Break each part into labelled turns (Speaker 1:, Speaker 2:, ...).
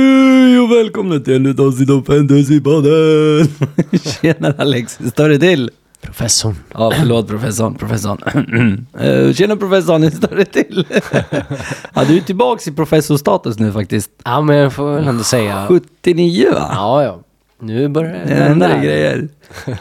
Speaker 1: Hej och välkomna till ett nytt avsnitt av Fantasypodden! Tjena Alexis, står det till?
Speaker 2: Professorn.
Speaker 1: Ja, förlåt professorn, professorn. Eh, Tjena professorn, hur står det till? ja, du är tillbaks i professorstatus nu faktiskt.
Speaker 2: Ja, men jag får väl ändå säga.
Speaker 1: 79 va?
Speaker 2: Ja, ja. Nu börjar det
Speaker 1: Ah, Det händer grejer.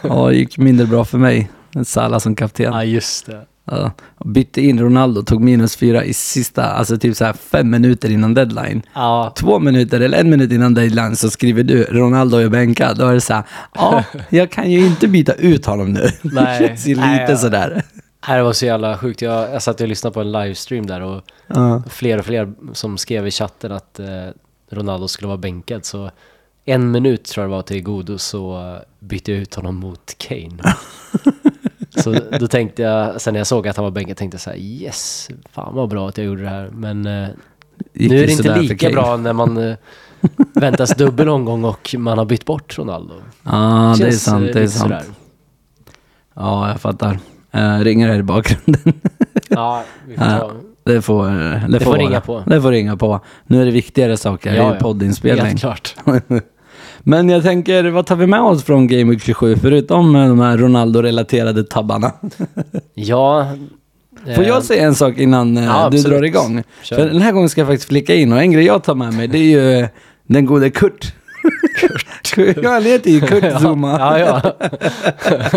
Speaker 1: Ja, det gick mindre bra för mig. Salah som kapten.
Speaker 2: Ja, just det.
Speaker 1: Ja, och bytte in Ronaldo, tog minus fyra i sista, alltså typ så här fem minuter innan deadline.
Speaker 2: Ja,
Speaker 1: Två minuter eller en minut innan deadline så skriver du Ronaldo är bänkad. Då är det så här, ja, jag kan ju inte byta ut honom nu.
Speaker 2: Nej.
Speaker 1: det känns ju lite
Speaker 2: Nej, ja.
Speaker 1: sådär.
Speaker 2: här var så jävla sjukt. Jag, jag satt och lyssnade på en livestream där och
Speaker 1: Ja.
Speaker 2: fler och fler som skrev i chatten att eh, Ronaldo skulle vara bänkad. Så en minut tror jag det var till godo så eh, bytte jag ut honom mot Kane. så då tänkte jag, sen när jag såg att han var bänkad tänkte jag så här yes, fan vad bra att jag gjorde det här. Men eh,
Speaker 1: Gick
Speaker 2: nu
Speaker 1: ju
Speaker 2: är det
Speaker 1: sådär
Speaker 2: inte
Speaker 1: för
Speaker 2: lika
Speaker 1: Kane.
Speaker 2: bra när man eh, väntas dubbel omgång och man har bytt bort Ronaldo.
Speaker 1: Ja, det är
Speaker 2: Känns,
Speaker 1: sant,
Speaker 2: eh,
Speaker 1: det är
Speaker 2: lite
Speaker 1: sant.
Speaker 2: sådär.
Speaker 1: Ja, jag fattar. Uh, ringer här i bakgrunden.
Speaker 2: Ja, vi får
Speaker 1: Ja,
Speaker 2: ta.
Speaker 1: Det får, eh, det
Speaker 2: får
Speaker 1: vara.
Speaker 2: ringa på.
Speaker 1: Det får ringa på. Nu är det viktigare saker, det är
Speaker 2: Ja,
Speaker 1: ju
Speaker 2: ja.
Speaker 1: poddinspelning.
Speaker 2: Helt klart.
Speaker 1: Men jag tänker, vad tar vi med oss från Game Week 27 förutom eh, de här Ronaldo-relaterade tabbarna?
Speaker 2: Ja.
Speaker 1: Får
Speaker 2: eh,
Speaker 1: jag säga en sak innan eh,
Speaker 2: ja,
Speaker 1: du
Speaker 2: absolut.
Speaker 1: drar igång?
Speaker 2: Kör.
Speaker 1: För den här gången ska jag faktiskt flika in och en grej jag tar med mig det är ju eh, den gode Kurt. Kurt. ja, han heter ju Kurt Zuma.
Speaker 2: Ja, ja.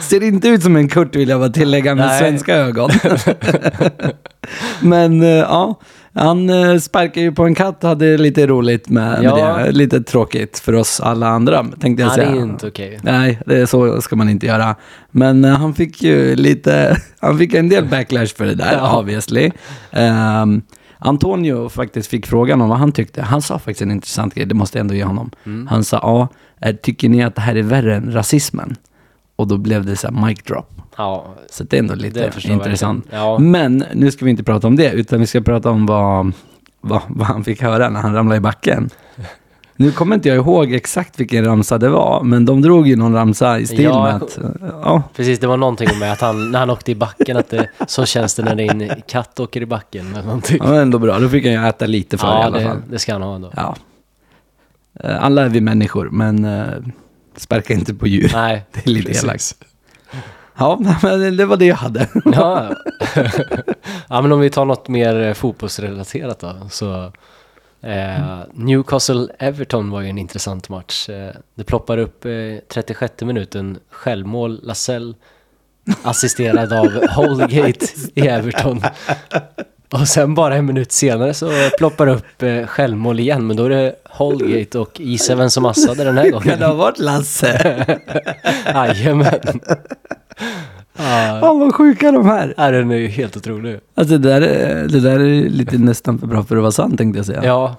Speaker 1: Ser inte ut som en Kurt vill jag bara tillägga med
Speaker 2: Nej.
Speaker 1: svenska ögon. Men eh, ja, han eh, sparkade ju på en katt och hade lite roligt med,
Speaker 2: Ja.
Speaker 1: med det. Lite tråkigt för oss alla andra tänkte jag
Speaker 2: Nej, det
Speaker 1: säga.
Speaker 2: är inte okej.
Speaker 1: Nej, det är så ska man inte göra. Men eh, han fick ju lite, han fick en del backlash för det där,
Speaker 2: Ja.
Speaker 1: obviously. Ehm, Antonio faktiskt fick frågan om vad han tyckte. Han sa faktiskt en intressant grej, det måste jag ändå ge honom.
Speaker 2: Mm.
Speaker 1: Han sa, ja, eh, tycker ni att det här är värre än rasismen? Och då blev det så här mic drop.
Speaker 2: Ja,
Speaker 1: Så det är ändå lite
Speaker 2: det förstår jag
Speaker 1: intressant. Mm.
Speaker 2: verkligen. Ja.
Speaker 1: Men nu ska vi inte prata om det, utan vi ska prata om vad, vad, vad han fick höra när han ramlade i backen. Nu kommer inte jag ihåg exakt vilken ramsa det var, men de drog ju någon ramsa i stil
Speaker 2: Ja.
Speaker 1: med att... Ja,
Speaker 2: Precis, det var någonting med att han, när han åkte i backen, att det, så känns det när din katt åker i backen. Eller någonting.
Speaker 1: det var ändå bra. Då fick han ju äta lite för i
Speaker 2: Ja,
Speaker 1: alla fall.
Speaker 2: det, det ska han ha ändå.
Speaker 1: Ja. Eh, Alla är vi människor, men eh, sparka inte på djur.
Speaker 2: Nej,
Speaker 1: Det är lite
Speaker 2: precis.
Speaker 1: elakt. Ja, men det var det jag hade.
Speaker 2: Ja. ja, men om vi tar något mer eh, fotbollsrelaterat då. Så, eh, Newcastle-Everton var ju en intressant match. Eh, det ploppar upp eh, 36 minuten, självmål, Lasell assisterad av Holgate i Everton. Och sen bara en minut senare så ploppar det upp eh, självmål igen, men då är det Holgate och gissa vem som assade den här
Speaker 1: Kan det
Speaker 2: gången.
Speaker 1: ha varit Lasse?
Speaker 2: Jajamän. Ja,
Speaker 1: Fan vad sjuka de här.
Speaker 2: ja, den är ju helt otrolig.
Speaker 1: Alltså det där, är- det där är lite nästan för bra för att vara sant tänkte jag säga.
Speaker 2: Ja,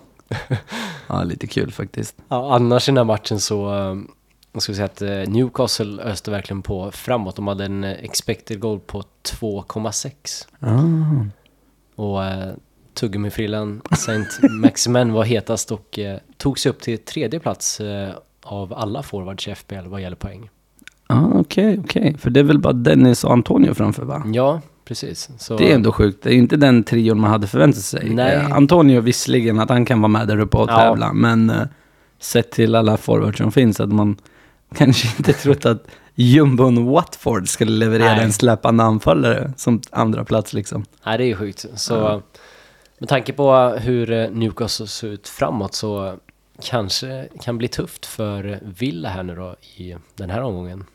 Speaker 1: Ja, lite kul faktiskt.
Speaker 2: Ja, annars i den här matchen så, eh, jag skulle säga att eh, Newcastle öste verkligen på framåt. De hade en eh, expected goal på 2,6.
Speaker 1: Ah.
Speaker 2: Och eh, Tuggummi-frillan Saint Maximen var hetast och eh, tog sig upp till tredje plats eh, av alla forwards i FBL vad gäller poäng.
Speaker 1: Ah, okej, okej. För det är väl bara Dennis och Antonio framför va?
Speaker 2: Ja, precis. Så,
Speaker 1: Det är ändå sjukt. Det är ju inte den trion man hade förväntat sig.
Speaker 2: Nej.
Speaker 1: Eh, Antonio visserligen att han kan vara med där uppe och
Speaker 2: Ja.
Speaker 1: tävla, men eh, sett till alla forwards som finns att man kanske inte trott att jumbon Watford skulle leverera
Speaker 2: Nej.
Speaker 1: en släpande anfallare som andra plats liksom.
Speaker 2: Nej, det är ju sjukt. Så
Speaker 1: Ja.
Speaker 2: med tanke på hur eh, Newcastle ser ut framåt så kanske kan bli tufft för Villa här nu då i den här omgången.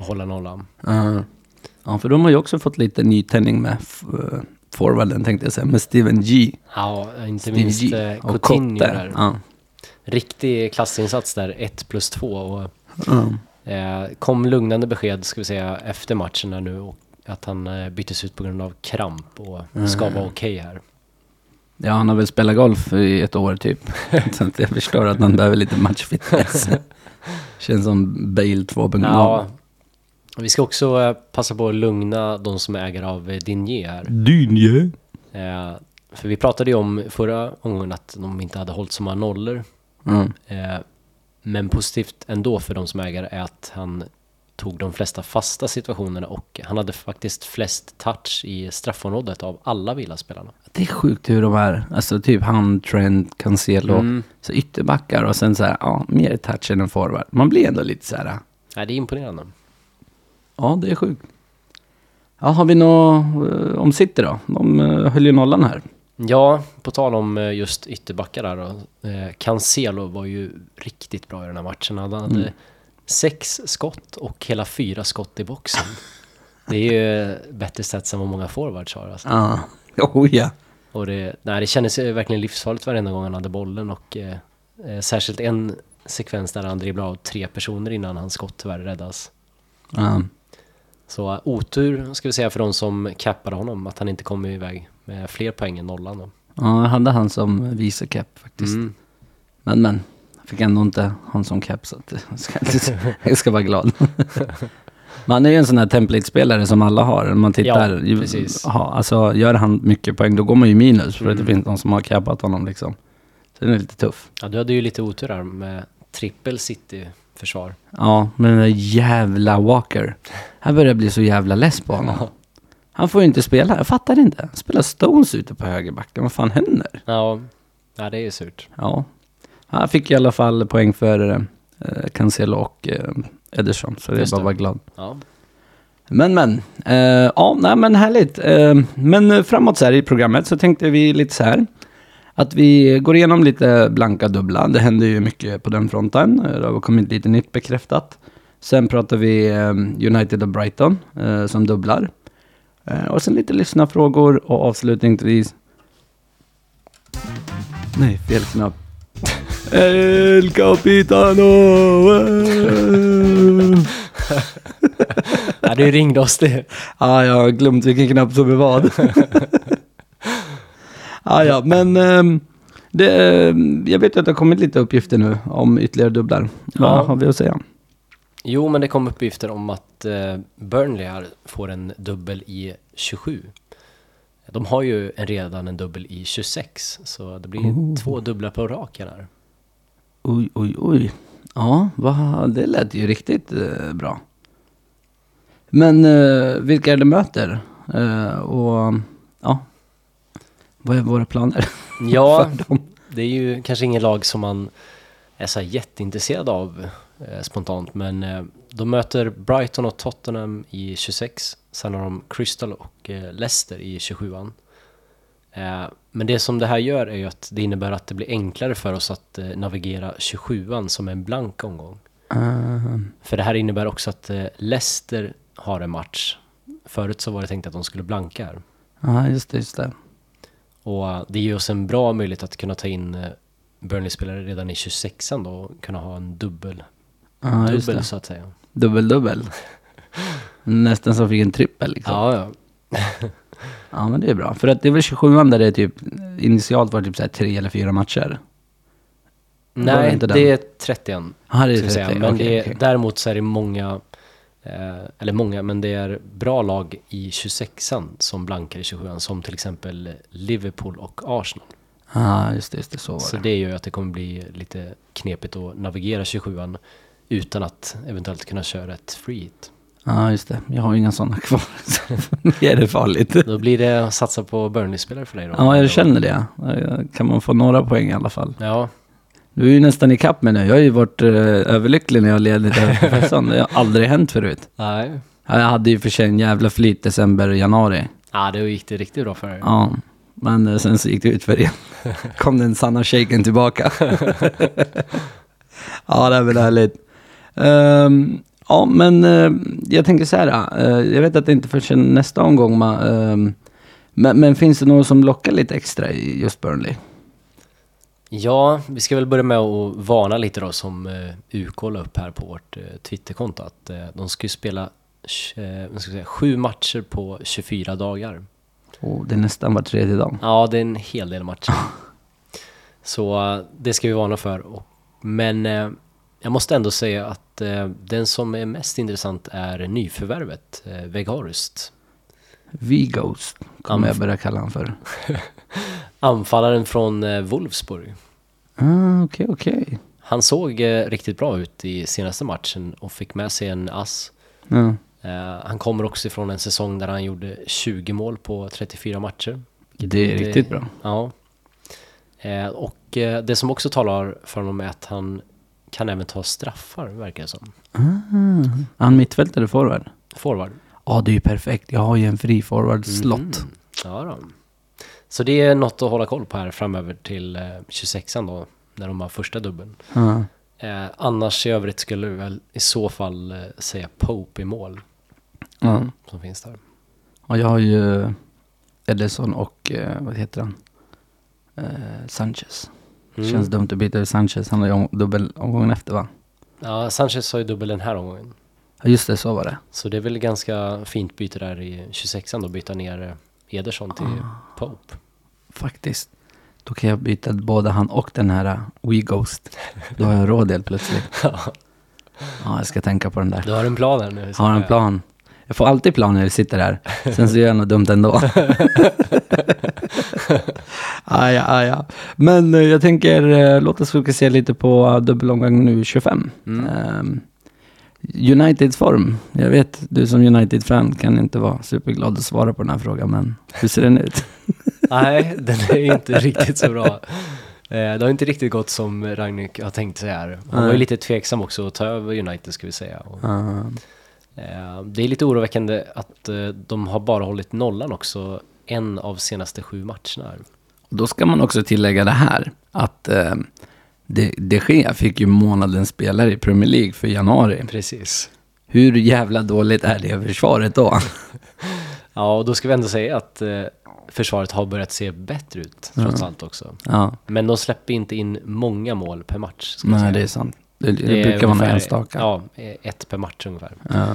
Speaker 2: Att hålla nollan.
Speaker 1: Ja. Ja, för de har ju också fått lite nytändning med f- eh, forwarden tänkte jag säga, med Steven G.
Speaker 2: Ja, inte
Speaker 1: Steve
Speaker 2: minst
Speaker 1: G
Speaker 2: eh,
Speaker 1: och
Speaker 2: Coutinho
Speaker 1: Kotte.
Speaker 2: där.
Speaker 1: Ja.
Speaker 2: Riktig klassinsats där, 1 plus 2. Och,
Speaker 1: Ja.
Speaker 2: eh, kom lugnande besked ska vi säga efter matchen här nu och att han eh, byttes ut på grund av kramp och
Speaker 1: Mm.
Speaker 2: ska vara okej här.
Speaker 1: Ja, han har väl spelat golf i ett år typ. Så att jag förstår att man behöver lite matchfitness. Känns som Bale 2.0.
Speaker 2: Ja. Vi ska också eh, passa på att lugna de som är ägare av eh, Dinier här.
Speaker 1: Dynje.
Speaker 2: Eh, för vi pratade ju om förra omgången att de inte hade hållit så många nollor.
Speaker 1: Mm.
Speaker 2: Eh, men positivt ändå för de som äger är att han tog de flesta fasta situationerna och han hade faktiskt flest touch i straffområdet av alla villaspelarna.
Speaker 1: Det är sjukt hur de är, alltså typ han, Trent, Cancelo, så ytterbackar och sen så här, ja, mer touch än en forward. Man blir ändå lite så här,
Speaker 2: Nej, det är imponerande.
Speaker 1: ja det är sjukt. Ja, har vi något eh, om City då? De eh, höll ju nollan här.
Speaker 2: Ja, på tal om eh, just ytterbackar där då. eh, Cancelo var ju riktigt bra i den här matchen. Han hade sex skott och hela fyra skott i boxen. Det är ju bättre stats än vad många forwards har. Alltså.
Speaker 1: Ja, oh ja.
Speaker 2: Och det, nej, det kändes ju verkligen livsfarligt varenda gång han hade bollen och eh, eh, särskilt en sekvens där han dribblar av tre personer innan hans skott tyvärr räddas.
Speaker 1: Ja.
Speaker 2: Så eh, otur ska vi säga för de som cappade honom att han inte kom iväg med fler poäng än nollan då.
Speaker 1: Ja, jag hade han som vice cap faktiskt.
Speaker 2: Mm.
Speaker 1: Men men, jag fick ändå inte han som cap så att jag, ska, inte- jag ska vara glad. Man är ju en sån här template-spelare som alla har. Man tittar,
Speaker 2: Ja,
Speaker 1: ju-
Speaker 2: precis. Mm.
Speaker 1: aha, alltså, gör han mycket poäng då går man ju minus för att det finns någon som har cappat honom liksom. Så den är lite tuff.
Speaker 2: Ja, du hade ju lite otur där med trippel City-försvar.
Speaker 1: Ja, men den där jävla Walker. Här börjar jag bli så jävla less på honom. Han får ju inte spela, jag fattar inte. Han spelar Stones ute på högerbacken, vad fan händer?
Speaker 2: Ja, ja, det är ju surt.
Speaker 1: Ja. Han fick i alla fall poäng för eh, Cancelo och eh, Ederson, så det är
Speaker 2: Just
Speaker 1: bara
Speaker 2: det.
Speaker 1: att vara glad.
Speaker 2: Ja.
Speaker 1: Men men, eh, ja, nej men härligt. Eh, men eh, framåt så här i programmet så tänkte vi lite så här. Att vi går igenom lite blanka dubbla. Det händer ju mycket på den fronten. Eh, Det har kommit lite nytt bekräftat. Sen pratar vi eh, United och Brighton eh, som dubblar. Eh, och sen lite lyssnarfrågor och avslutningsvis... Nej, fel knapp. El Capitano! eh.
Speaker 2: ja, du ringde oss det.
Speaker 1: Ah, jag har glömt vilken knapp som är vad. ah, ja, men ehm, det, ehm, jag vet att det har kommit lite uppgifter nu om ytterligare dubblar. Vad
Speaker 2: Ja.
Speaker 1: har vi att säga?
Speaker 2: Jo, men det kom uppgifter om att eh, Burnley här får en dubbel i 27. De har ju en- redan en dubbel i 26, så det blir två dubbla på raken här.
Speaker 1: Oj, oj, oj. Ja, va, det lät ju riktigt eh, bra. Men eh, vilka är det möter? Eh, och ja, vad är våra planer?
Speaker 2: Ja, det är ju kanske ingen lag som man är så här jätteintresserad av eh, spontant, men eh, de möter Brighton och Tottenham i 26, sen har de Crystal och eh, Leicester i 27an. Eh, men det som det här gör är ju att det innebär att det blir enklare för oss att eh, navigera 27an som en blank omgång.
Speaker 1: Eh,
Speaker 2: För det här innebär också att eh, Leicester har en match. Förut så var det tänkt att de skulle blanka här.
Speaker 1: Ja, just det, just det.
Speaker 2: Och eh, det ger oss en bra möjlighet att kunna ta in eh, Burnley-spelare redan i 26an då och kunna ha en dubbel,
Speaker 1: Ja, just
Speaker 2: dubbel
Speaker 1: det.
Speaker 2: så att säga.
Speaker 1: Dubbel, dubbel. Nästan som fick en trippel liksom.
Speaker 2: Ja, ja.
Speaker 1: Ja men det är bra. För att det är väl 27an där det är typ initialt var det typ så här tre eller fyra matcher. Var det
Speaker 2: Nej,
Speaker 1: inte den?
Speaker 2: det är 31.
Speaker 1: Ja det är
Speaker 2: Ska vi säga.
Speaker 1: trettio.
Speaker 2: Men
Speaker 1: Okej,
Speaker 2: det är,
Speaker 1: okej.
Speaker 2: däremot så är det många, eh, eller många, men det är bra lag i 26an som blankar i 27an som till exempel Liverpool och Arsenal.
Speaker 1: Ja just det, just det, så var
Speaker 2: Så
Speaker 1: det.
Speaker 2: det gör ju att det kommer bli lite knepigt att navigera 27an utan att eventuellt kunna köra ett free hit.
Speaker 1: Ja just det, jag har ju inga sådana kvar. Så det är det farligt.
Speaker 2: Då blir det att satsa på Burnley-spelare för dig då?
Speaker 1: Ja jag känner det. Ja, Kan man få några poäng i alla fall.
Speaker 2: Ja,
Speaker 1: Du är ju nästan ikapp mig nu. Jag har ju varit eh, överlycklig när jag ledit över professorn. Det har aldrig hänt förut.
Speaker 2: nej.
Speaker 1: Ja, Jag hade ju för sig en jävla flyt december och januari.
Speaker 2: Ja, det gick det riktigt bra för dig.
Speaker 1: Ja, men eh, sen så gick det ut för igen. Kom den sanna shaken tillbaka. ja, det är väl härligt. Ehm, ja, men eh, jag tänker så här. eh, jag vet att det inte förrän nästa omgång. ma- ehm, men, men finns det någon som lockar lite extra i just Burnley?
Speaker 2: Ja, vi ska väl börja med att varna lite då som eh, UK la upp här på vårt eh, Twitterkonto att eh, de ska ju spela tj- eh, vad ska jag säga, sju matcher på 24 dagar.
Speaker 1: Oh, det är nästan var tredje dag.
Speaker 2: Ja, det är en hel del matcher. Så eh, det ska vi varna för. Och- Men eh, jag måste ändå säga att eh, den som är mest intressant är nyförvärvet, eh, Vegarust.
Speaker 1: V-Ghost kommer
Speaker 2: Ja,
Speaker 1: jag börja kalla honom för.
Speaker 2: Anfallaren från eh, Wolfsburg.
Speaker 1: Ah, Okej, okej.
Speaker 2: Han såg eh, riktigt bra ut i senaste matchen och fick med sig en ass.
Speaker 1: Ja.
Speaker 2: Eh, han kommer också ifrån en säsong där han gjorde 20 mål på 34 matcher.
Speaker 1: Det är
Speaker 2: Det-
Speaker 1: riktigt bra.
Speaker 2: Ja. Eh, och eh, det som också talar för honom är att han kan även ta straffar, verkar det som.
Speaker 1: Är Ah. han mittfältare eller forward?
Speaker 2: Forward.
Speaker 1: Ja, det är ju perfekt. Jag har ju en fri forward-slott.
Speaker 2: Mm. Ja då. Så det är något att hålla koll på här framöver till eh, 26an då, när de har första dubbeln.
Speaker 1: Ja.
Speaker 2: Eh, annars i övrigt skulle vi väl i så fall eh, säga Pope i mål
Speaker 1: Ja.
Speaker 2: som finns där.
Speaker 1: Och jag har ju Ederson och, eh, vad heter han? Eh, Sanchez.
Speaker 2: Mm.
Speaker 1: Känns dumt att byta ut Sanchez. Han har ju om- dubbel omgången efter va?
Speaker 2: Ja, Sanchez har ju dubbel den här omgången.
Speaker 1: Ja, just det, så var det.
Speaker 2: Så det är väl ganska fint byte där i 26an då, byta ner eh, Ederson till Pope.
Speaker 1: Faktiskt. Då kan jag byta både han och den här eh, WeGhost. Då har jag råd helt plötsligt. Ja, jag ska tänka på den där.
Speaker 2: Du har en plan här nu.
Speaker 1: Har en plan. Jag får alltid plan när vi sitter här. Sen så gör jag något dumt ändå. ah, ja, ah, ja. Men eh, jag tänker, eh, låt oss fokusera lite på eh, dubbelomgång nu 25. Ehm, Uniteds form. Jag vet, du som United-fan kan inte vara superglad att svara på den här frågan, men hur ser den ut?
Speaker 2: Nej, den är ju inte riktigt så bra. Eh, Det har inte riktigt gått som Ragnik har tänkt sig här. Han var ju
Speaker 1: Nej.
Speaker 2: lite tveksam också att ta över United ska vi säga. Och,
Speaker 1: Ah,
Speaker 2: eh, Det är lite oroväckande att eh, de har bara hållit nollan också en av senaste sju matcherna. här.
Speaker 1: Då ska man också tillägga det här, att eh, de, de Gea fick ju månadens spelare i Premier League för januari.
Speaker 2: Precis.
Speaker 1: Hur jävla dåligt är det försvaret då?
Speaker 2: Ja, och då ska vi ändå säga att eh, försvaret har börjat se bättre ut trots allt också.
Speaker 1: Ja,
Speaker 2: Men de släpper inte in många mål per match. Ska jag
Speaker 1: nej
Speaker 2: säga.
Speaker 1: det är sant. Det, det,
Speaker 2: är
Speaker 1: brukar vara några
Speaker 2: ungefär-
Speaker 1: enstaka.
Speaker 2: Ja, eh, ett per match ungefär.
Speaker 1: Ja.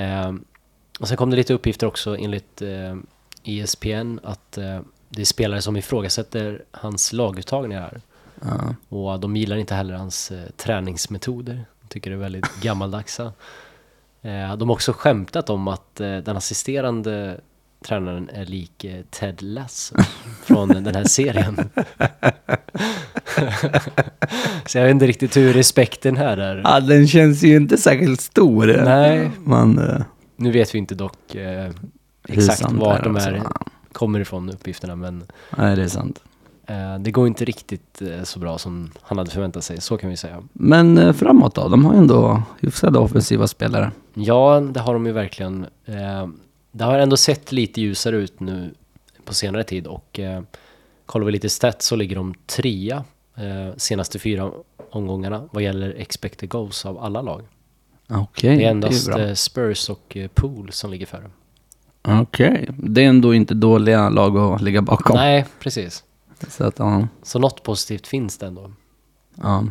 Speaker 2: Ehm, och sen kom det lite uppgifter också enligt eh, ESPN att eh, det är spelare som ifrågasätter hans laguttagningar här.
Speaker 1: Ja.
Speaker 2: Och de gillar inte heller hans eh, träningsmetoder. Tycker det är väldigt gammaldagsa. Eh, de har också skämtat om att eh, den assisterande tränaren är lik eh, Ted Lasso från den här serien. Så jag vet inte riktigt hur respekten här är.
Speaker 1: ja, den känns ju inte särskilt stor.
Speaker 2: Nej.
Speaker 1: Man, eh,
Speaker 2: Nu vet vi inte dock eh,
Speaker 1: hur
Speaker 2: exakt
Speaker 1: sant
Speaker 2: vart
Speaker 1: är
Speaker 2: de
Speaker 1: det,
Speaker 2: är,
Speaker 1: alltså?
Speaker 2: kommer ifrån uppgifterna men
Speaker 1: Nej, det är sant.
Speaker 2: eh, det går inte riktigt eh, så bra som han hade förväntat sig, så kan vi säga.
Speaker 1: Men eh, framåt då? De har ju ändå hyfsade offensiva spelare.
Speaker 2: Ja, det har de ju verkligen. Eh, det har ändå sett lite ljusare ut nu på senare tid och eh, kollar vi lite stats så ligger de trea eh, senaste fyra omgångarna vad gäller expected goals av alla lag.
Speaker 1: Okej,
Speaker 2: Det är
Speaker 1: ju
Speaker 2: endast
Speaker 1: bra.
Speaker 2: eh, Spurs och eh, Pool som ligger före.
Speaker 1: Okej, det är ändå inte dåliga lag att ligga bakom.
Speaker 2: Nej, precis.
Speaker 1: Så att, ja.
Speaker 2: Så något positivt finns det ändå.
Speaker 1: ja.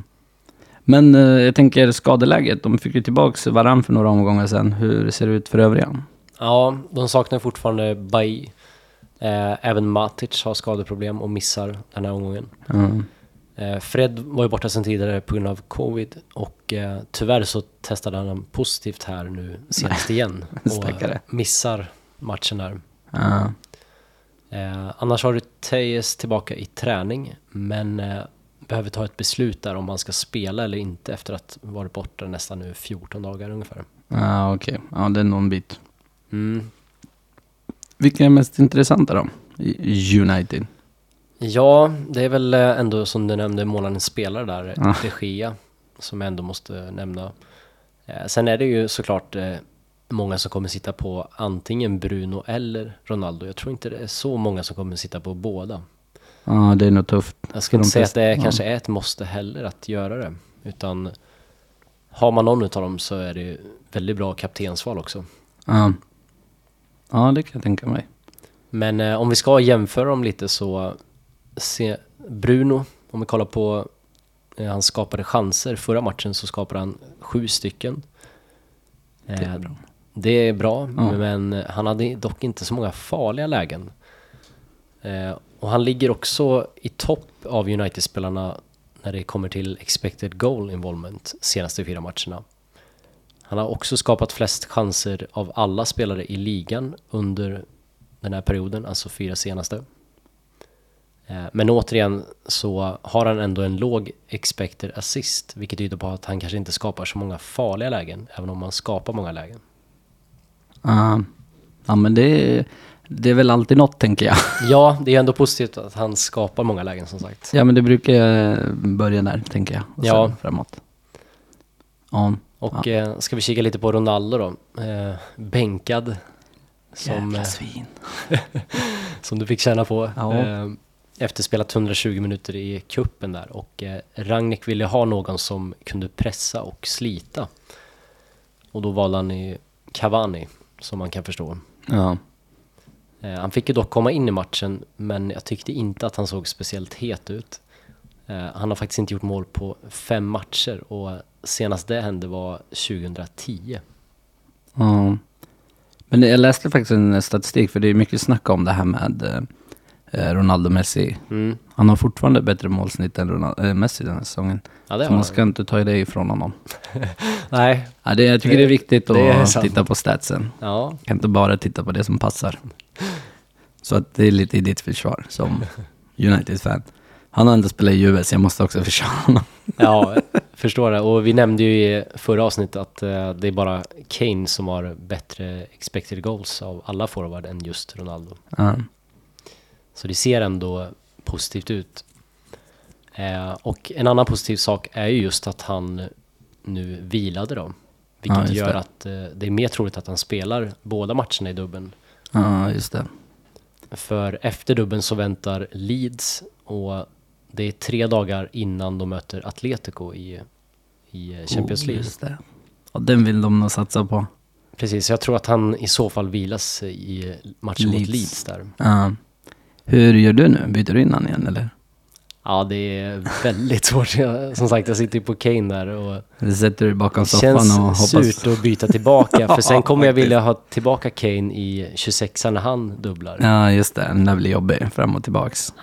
Speaker 1: Men eh, jag tänker skadeläget, de fick ju tillbaka varann för några omgångar sedan. Hur ser det ut för övriga?
Speaker 2: Ja, de saknar fortfarande Bay. Eh, även Matic har skadeproblem och missar den här omgången.
Speaker 1: Ja.
Speaker 2: Eh, Fred var ju borta sedan tidigare på grund av covid och eh, tyvärr så testade han positivt här nu senast igen och eh,
Speaker 1: Stackare.
Speaker 2: missar matchen där.
Speaker 1: Ja.
Speaker 2: Eh, annars har du Tejes tillbaka i träning men eh, behöver ta ett beslut där om han ska spela eller inte efter att varit borta nästan nu 14 dagar ungefär.
Speaker 1: Ja, Ah, okej. Ja, det är någon bit.
Speaker 2: Mm.
Speaker 1: Vilka är mest intressanta då? I- United.
Speaker 2: Ja, det är väl eh, ändå som du nämnde månadens spelare där,
Speaker 1: Ja.
Speaker 2: de Gea, som jag ändå måste nämna. Eh, Sen är det ju såklart eh, många som kommer sitta på antingen Bruno eller Ronaldo. Jag tror inte det är så många som kommer sitta på båda.
Speaker 1: Ja, det är nog tufft.
Speaker 2: Jag skulle
Speaker 1: För
Speaker 2: inte
Speaker 1: de
Speaker 2: säga att det är,
Speaker 1: flesta-
Speaker 2: kanske är ett måste heller att göra det, utan har man någon utav dem så är det ju väldigt bra kaptensval också.
Speaker 1: Ja. ja, det kan jag tänka mig.
Speaker 2: Men eh, om vi ska jämföra dem lite så se Bruno, om vi kollar på eh, han skapade chanser. Förra matchen så skapade han sju stycken. Eh,
Speaker 1: är bra.
Speaker 2: det är bra,
Speaker 1: Ja.
Speaker 2: men eh, han hade dock inte så många farliga lägen. Eh, och han ligger också i topp av United-spelarna när det kommer till expected goal involvement senaste fyra matcherna. Han har också skapat flest chanser av alla spelare i ligan under den här perioden, alltså fyra senaste. Eh, Men återigen så har han ändå en låg expected assist, vilket tyder på att han kanske inte skapar så många farliga lägen, även om han skapar många lägen.
Speaker 1: Ah, ja, men det, det är väl alltid något tänker jag.
Speaker 2: Ja, det är ändå positivt att han skapar många lägen som sagt.
Speaker 1: Ja, men det brukar eh, börja där, tänker jag. Och
Speaker 2: Ja.
Speaker 1: sen framåt. Ja.
Speaker 2: Och eh, ska vi kika lite på Ronaldo då. Eh, bänkad. Som, eh,
Speaker 1: Jävla svin.
Speaker 2: som du fick känna på.
Speaker 1: Ja.
Speaker 2: Eh, efter spelat 120 minuter i kuppen där. Och eh, Ragnik ville ha någon som kunde pressa och slita. Och då valde han i Cavani, som man kan förstå.
Speaker 1: Ja.
Speaker 2: Eh, Han fick ju dock komma in i matchen, men jag tyckte inte att han såg speciellt het ut. Eh, Han har faktiskt inte gjort mål på fem matcher och senast det hände var 2010.
Speaker 1: Ja. Men jag läste faktiskt en statistik, för det är mycket snack om det här med eh, Ronaldo Messi.
Speaker 2: Mm.
Speaker 1: Han har fortfarande bättre målsnitt än Ronaldo, eh, Messi den här säsongen.
Speaker 2: Ja, det
Speaker 1: så
Speaker 2: har
Speaker 1: man
Speaker 2: han.
Speaker 1: ska inte ta det ifrån honom.
Speaker 2: Nej,
Speaker 1: Ja, det, jag tycker det, är viktigt att
Speaker 2: det är sant.
Speaker 1: titta på statsen.
Speaker 2: ja,
Speaker 1: Kan inte bara titta på det som passar. Så att det är lite i ditt försvar som United-fan. Han har ändå spelat i US, jag måste också försvara honom.
Speaker 2: ja, jag förstår det. Och vi nämnde ju i förra avsnittet att eh, det är bara Kane som har bättre expected goals av alla forward än just Ronaldo.
Speaker 1: Ja.
Speaker 2: Så det ser ändå positivt ut. Eh, och en annan positiv sak är ju just att han nu vilade då.
Speaker 1: Ja,
Speaker 2: Vilket
Speaker 1: just
Speaker 2: gör
Speaker 1: det.
Speaker 2: att eh, det är mer troligt att han spelar båda matcherna i dubben.
Speaker 1: Ja, just det.
Speaker 2: För efter dubben så väntar Leeds och det är tre dagar innan de möter Atletico i, i Champions
Speaker 1: Oh,
Speaker 2: League.
Speaker 1: Just det. Och den vill de nog satsa på.
Speaker 2: Precis, så jag tror att han i så fall vilas i matchen mot
Speaker 1: Leeds.
Speaker 2: Leeds där.
Speaker 1: Ja. hur gör du nu? Byter du in han igen eller?
Speaker 2: Ja, det är väldigt svårt. Jag- Som sagt, jag sitter ju på Kane där och
Speaker 1: Eller sätter du dig bakom
Speaker 2: Det
Speaker 1: soffan och
Speaker 2: känns
Speaker 1: hoppas?
Speaker 2: surt att byta tillbaka för sen kommer jag
Speaker 1: Faktiskt.
Speaker 2: vilja ha tillbaka Kane i 26an när han dubblar. Ja,
Speaker 1: Ja, just det. Den där blir jobbig, fram och tillbaks.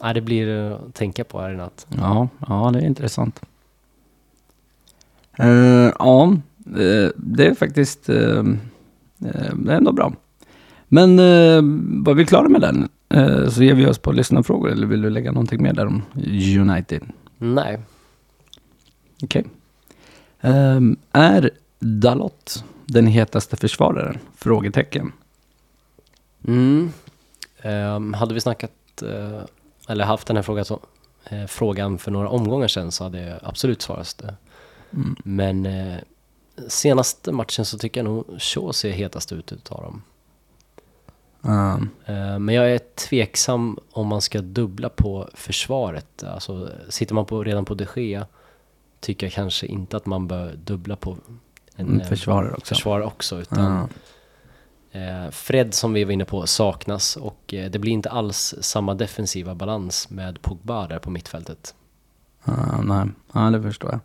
Speaker 2: nej, det blir eh, att tänka på här i natt.
Speaker 1: Ja, ja det är intressant. Eh, ja, eh, det är faktiskt eh, eh, det är ändå bra. Men eh, var vi klara med den? Eh, så ger vi oss på lyssnarfrågor eller vill du lägga någonting mer där om United?
Speaker 2: Nej,
Speaker 1: Okej. Ehm, är Dalot den hetaste försvararen? Frågetecken.
Speaker 2: mm. Ehm, hade vi snackat eh, eller haft den här frågan, så, eh, frågan för några omgångar sedan så hade jag absolut svarat det.
Speaker 1: Mm.
Speaker 2: Men eh, senaste matchen så tycker jag nog Shaw ser hetast ut utav dem.
Speaker 1: Ehm,
Speaker 2: Eh, Men jag är tveksam om man ska dubbla på försvaret. Alltså, sitter man på, redan på de Gea tycker jag kanske inte att man bör dubbla på
Speaker 1: Mm,
Speaker 2: eh,
Speaker 1: försvarare också.
Speaker 2: försvar också. Utan,
Speaker 1: Ja.
Speaker 2: eh, Fred som vi var inne på saknas och eh, det blir inte alls samma defensiva balans med Pogba där på mittfältet.
Speaker 1: Ja, nej, ja, det förstår jag.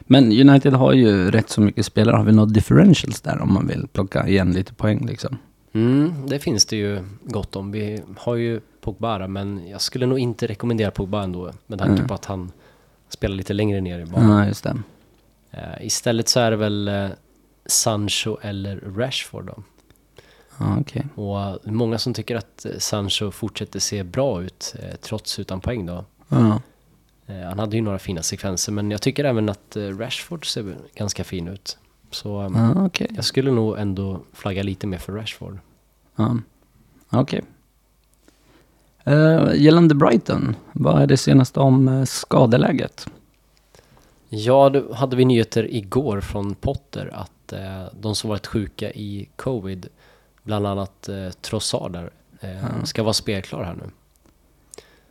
Speaker 1: Men United har ju rätt så mycket spelare. Har vi några differentials där om man vill plocka igen lite poäng liksom?
Speaker 2: Mm, det finns det ju gott om. Vi har ju Pogba där, men jag skulle nog inte rekommendera Pogba ändå med tanke
Speaker 1: Mm.
Speaker 2: på att han spelar lite längre ner i banan.
Speaker 1: Ja, just det.
Speaker 2: Eh, Istället så är det väl eh, Sancho eller Rashford då.
Speaker 1: Ja, okej.
Speaker 2: Och eh, många som tycker att eh, Sancho fortsätter se bra ut eh, trots utan poäng då.
Speaker 1: Ja.
Speaker 2: Eh, Han hade ju några fina sekvenser men jag tycker även att eh, Rashford ser ganska fin ut. Så eh,
Speaker 1: Ja, okej.
Speaker 2: jag skulle nog ändå flagga lite mer för Rashford.
Speaker 1: Ja. Okej. Eh, gällande Brighton, vad är det senaste om eh, skadeläget?
Speaker 2: Ja, då hade vi nyheter igår från Potter att eh, de som varit sjuka i covid, bland annat eh, Trossard där, eh, ska vara spelklar här nu.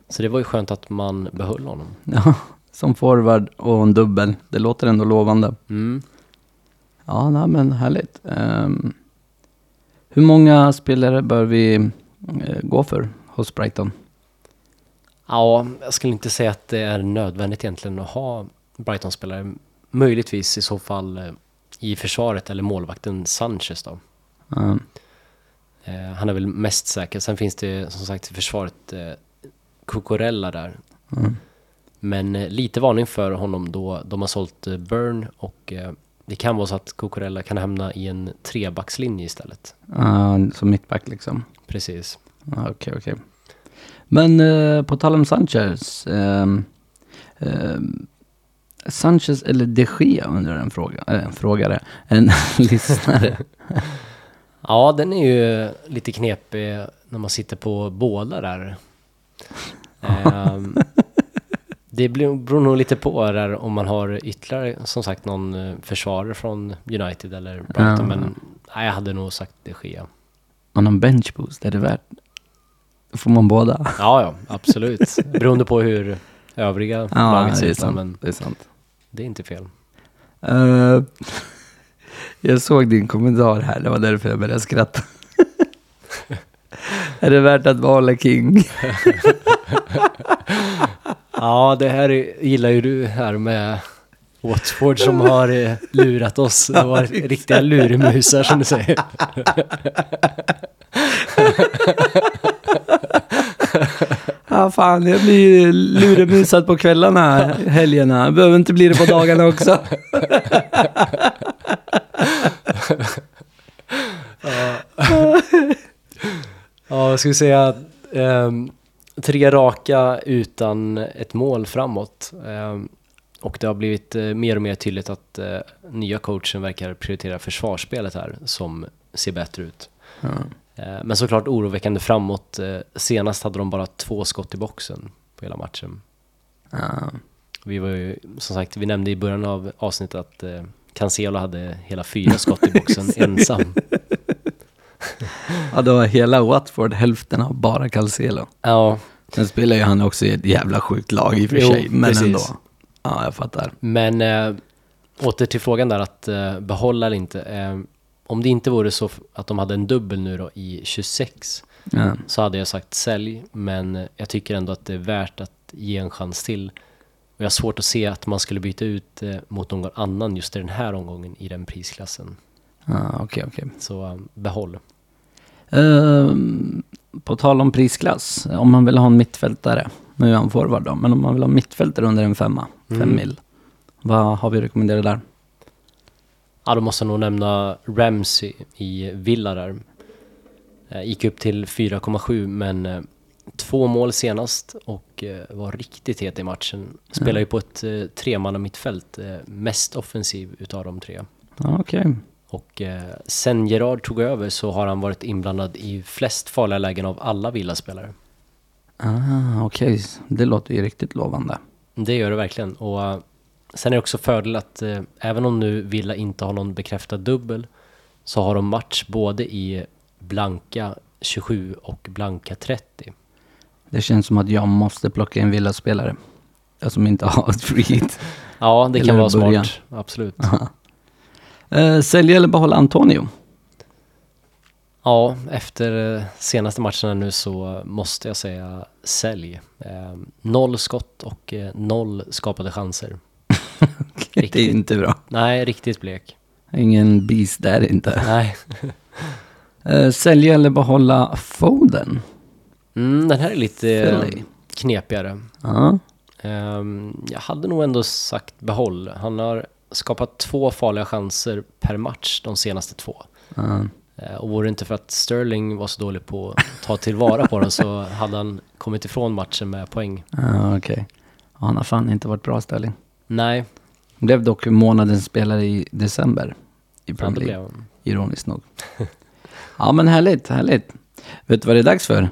Speaker 2: Så det var ju skönt att man behöll honom.
Speaker 1: Ja, som forward och en dubbel. Det låter ändå lovande.
Speaker 2: Mm.
Speaker 1: Ja, nej, men härligt. Ehm, hur många spelare bör vi eh, gå för hos Brighton?
Speaker 2: Ja, jag skulle inte säga att det är nödvändigt egentligen att ha Brighton-spelare. Möjligtvis i så fall eh, i försvaret eller målvakten Sanchez då.
Speaker 1: Ehm,
Speaker 2: Eh, han är väl mest säker. Sen finns det som sagt i försvaret eh, Cucurella där.
Speaker 1: Mm.
Speaker 2: Men eh, lite varning för honom då de har sålt eh, Burn och eh, det kan vara så att Cucurella kan hamna i en trebackslinje istället.
Speaker 1: Ja, Ah, som mittback liksom.
Speaker 2: Precis.
Speaker 1: Ja, Okej, okej. Men eh, på tal om Sanchez. ehm, ehm, Sanchez eller de Gea undrar en, fråga, eh, en frågare, en lyssnare.
Speaker 2: Ja, den är ju lite knepig när man sitter på båda där. Ehm, det blir- beror nog lite på där om man har ytterligare, som sagt, någon eh, försvarare från United eller Brighton.
Speaker 1: Ja.
Speaker 2: Men nej, jag hade nog sagt det sker.
Speaker 1: Men en bench boost, är det värt? Får man båda?
Speaker 2: Ja, ja, absolut. Beroende på hur övriga laget
Speaker 1: det är
Speaker 2: sitter, men
Speaker 1: sant. Det är sant.
Speaker 2: det är inte fel.
Speaker 1: Eh, jag såg din kommentar här, det var därför jag började skratta. är det värt att vara king?
Speaker 2: Ja, det här är- gillar ju du här med Watchford som har eh, lurat oss. Det var riktiga lurmusar som du säger.
Speaker 1: Ja, ah, fan, jag blir luremusad på kvällarna, helgerna. Jag behöver inte bli det på dagarna också.
Speaker 2: Ja, jag skulle säga ehm, tre raka utan ett mål framåt. Ehm, och det har blivit eh, mer och mer tydligt att eh, nya coachen verkar prioritera försvarsspelet här som ser bättre ut. Eh, men såklart oroväckande framåt. Eh, senast hade de bara två skott i boxen på hela matchen.
Speaker 1: Ja.
Speaker 2: Vi var ju, som sagt, vi nämnde i början av avsnittet att eh, Cancelo hade hela fyra skott i boxen ensam.
Speaker 1: Ja, då var hela Watford hälften av bara Calcelo.
Speaker 2: Ja,
Speaker 1: Sen spelar ju han också i ett jävla sjukt lag i och för
Speaker 2: Jo,
Speaker 1: sig, men
Speaker 2: precis.
Speaker 1: ändå. Ja, jag fattar.
Speaker 2: men eh, åter till frågan där att eh, behålla eller inte. Eh, om det inte vore så f- att de hade en dubbel nu då i 26
Speaker 1: Ja.
Speaker 2: så hade jag sagt sälj, men eh, jag tycker ändå att det är värt att ge en chans till. Och jag har svårt att se att man skulle byta ut eh, mot någon annan just i den här omgången i den prisklassen.
Speaker 1: Ja, okej, okej.
Speaker 2: Så eh, behåll.
Speaker 1: Ehm, på tal om prisklass, om man vill ha en mittfältare, nu är han forward då, men om man vill ha en mittfältare under en femma, fem
Speaker 2: Mm.
Speaker 1: mil, vad har vi rekommenderat där?
Speaker 2: Ja, då måste jag nog nämna Ramsey i Villa där. Eh, Gick upp till 4,7 men eh, två mål senast och eh, var riktigt het i matchen. Spelar ju på ett eh, tremannamittfält, eh, mest offensiv utav de tre.
Speaker 1: Ja, Okej,
Speaker 2: Och eh, sen Gerard tog över så har han varit inblandad i flest farliga lägen av alla Villaspelare.
Speaker 1: ah, okej, det låter ju riktigt lovande.
Speaker 2: Det gör det verkligen. Och eh, sen är det också fördel att eh, även om nu Villa inte har någon bekräftad dubbel så har de match både i blanka 27 och blanka 30.
Speaker 1: Det känns som att jag måste plocka en villaspelare, jag som inte har ett free hit.
Speaker 2: Ja, det
Speaker 1: Eller
Speaker 2: kan vara
Speaker 1: början.
Speaker 2: smart. Absolut.
Speaker 1: Eh, sälja eller behålla Antonio?
Speaker 2: Ja, efter eh, senaste matcherna nu så måste jag säga sälj. Eh, Noll skott och eh, noll skapade chanser.
Speaker 1: det är inte bra.
Speaker 2: Nej, riktigt blek.
Speaker 1: Ingen beast där inte.
Speaker 2: Nej.
Speaker 1: Eh, sälja eller behålla Foden?
Speaker 2: Mm, den här är lite eh,
Speaker 1: Sälj.
Speaker 2: knepigare.
Speaker 1: Ja,
Speaker 2: Ehm, jag hade nog ändå sagt behåll. Han har skapat två farliga chanser per match de senaste två.
Speaker 1: ja.
Speaker 2: Eh, och vore det inte för att Sterling var så dålig på att ta tillvara på den så hade han kommit ifrån matchen med poäng.
Speaker 1: Ja, okej. Ja, Han har fan inte varit bra Sterling.
Speaker 2: Nej,
Speaker 1: Blev dock månadens spelare i december i
Speaker 2: ja, det
Speaker 1: Premier
Speaker 2: blev
Speaker 1: League,
Speaker 2: han.
Speaker 1: ironiskt nog. ja men härligt, härligt. Vet du vad det är dags för?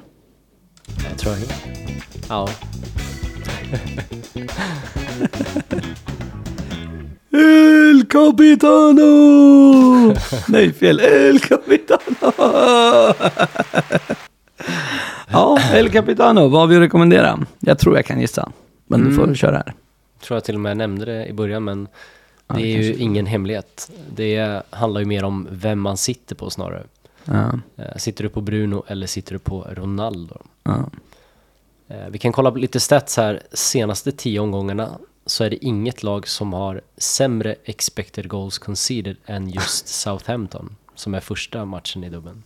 Speaker 2: Jag tror jag. Ja.
Speaker 1: El Capitano! Nej fel, El Capitano! ja, El Capitano, vad vill du rekommendera? Jag tror jag kan gissa, men du
Speaker 2: Mm.
Speaker 1: får köra här.
Speaker 2: tror jag till och med nämnde det i början men
Speaker 1: Ja,
Speaker 2: det
Speaker 1: det
Speaker 2: är ju
Speaker 1: kanske-
Speaker 2: ingen hemlighet. Det handlar ju mer om vem man sitter på snarare.
Speaker 1: Ja,
Speaker 2: Eh, Sitter du på Bruno eller sitter du på Ronaldo?
Speaker 1: ja.
Speaker 2: Eh, Vi kan kolla på lite stats här. Senaste tio omgångarna så är det inget lag som har sämre expected goals conceded än just Southampton. Som är första matchen i dubben.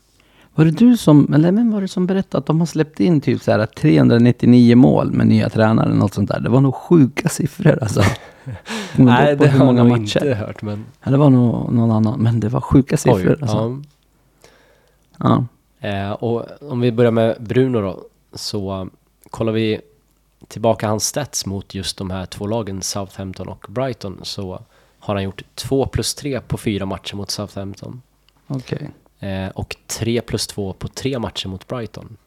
Speaker 1: Var det du som, eller vem var det som berättade att de har släppt in typ så här 399 mål med nya tränare eller något sånt där? Det var nog sjuka siffror alltså. Men då på hur många
Speaker 2: jag nog
Speaker 1: matcher?
Speaker 2: inte hört men...
Speaker 1: Ja, det var nog någon annan, men det var sjuka siffror.
Speaker 2: Oj,
Speaker 1: alltså.
Speaker 2: ja.
Speaker 1: ja.
Speaker 2: Eh, och om vi börjar med Bruno då, så eh, kollar vi tillbaka hans stats mot just de här två lagen, Southampton och Brighton, så har han gjort 2 plus 3 på fyra matcher mot Southampton.
Speaker 1: okej.
Speaker 2: Eh, Eh, och 3 plus 2 på tre matcher mot Brighton.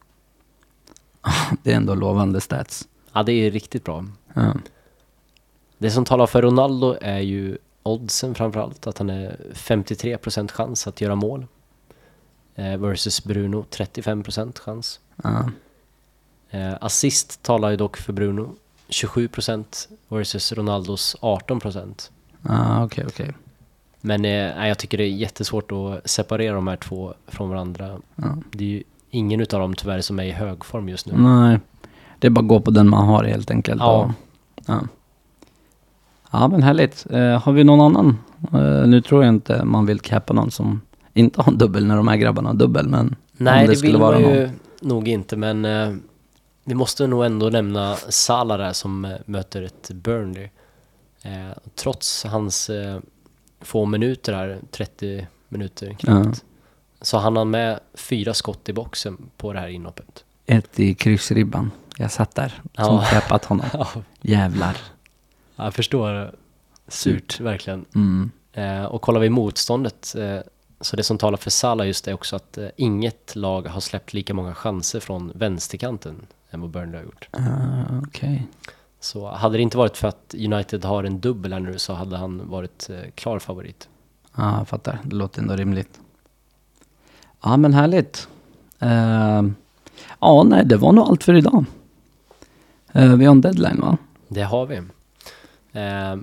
Speaker 1: Det är ändå lovande stats.
Speaker 2: Ja, det är riktigt bra.
Speaker 1: Ja.
Speaker 2: Det som talar för Ronaldo är ju oddsen framförallt, att han är 53% chans att göra mål. Eh, versus Bruno 35% chans.
Speaker 1: Ja.
Speaker 2: Eh, assist talar ju dock för Bruno 27% versus Ronaldos 18%.
Speaker 1: Ja, okej, okej.
Speaker 2: Men eh, nej, jag tycker det är jättesvårt att separera de här två från varandra.
Speaker 1: Ja.
Speaker 2: Det är ju ingen utav dem tyvärr som är i hög form just nu.
Speaker 1: Nej, det är bara att gå på den man har helt enkelt.
Speaker 2: Ja.
Speaker 1: Och- Ja, ja men härligt. Eh, har vi någon annan? Eh, nu tror jag inte man vill cappa någon som inte har en dubbel när de här grabbarna har dubbel, men
Speaker 2: Nej,
Speaker 1: om
Speaker 2: det,
Speaker 1: det,
Speaker 2: vill
Speaker 1: skulle vara
Speaker 2: man
Speaker 1: någon.
Speaker 2: ju nog inte, men eh, vi måste nog ändå nämna Salah där som eh, möter ett Burnley. Eh, trots hans eh, få minuter här, 30 minuter knappt, så hann han med fyra skott i boxen på det här inhoppet.
Speaker 1: Ett i kryssribban. Jag satt där som
Speaker 2: Ja.
Speaker 1: cappat honom.
Speaker 2: Ja,
Speaker 1: Jävlar.
Speaker 2: jag förstår. Surt, verkligen.
Speaker 1: Mm.
Speaker 2: Eh, och kollar vi motståndet, eh, så det som talar för Salah just är också att eh, inget lag har släppt lika många chanser från vänsterkanten än vad Burnley har gjort.
Speaker 1: Ah, Okej.
Speaker 2: Så hade det inte varit för att United har en dubbel här nu så hade han varit eh, klar favorit.
Speaker 1: Ja, jag fattar. Det låter ändå rimligt. Ja, men härligt. Eh, ja, nej, det var nog allt för idag. Eh, vi har en deadline, va?
Speaker 2: Det har vi. Eh,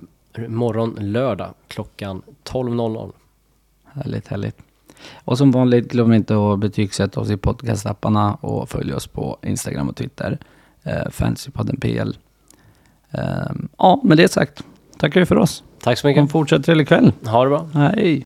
Speaker 2: morgon lördag klockan 12.00.
Speaker 1: Härligt, härligt. Och som vanligt, glöm inte att betygsätta oss i podcastapparna och följ oss på Instagram och Twitter. Eh, Fantasypodden PL. Eh, ja, med det sagt. Tackar vi för oss.
Speaker 2: Tack så
Speaker 1: Ha en
Speaker 2: mycket.
Speaker 1: fortsatt trevlig kväll.
Speaker 2: Ha det bra.
Speaker 1: Hej!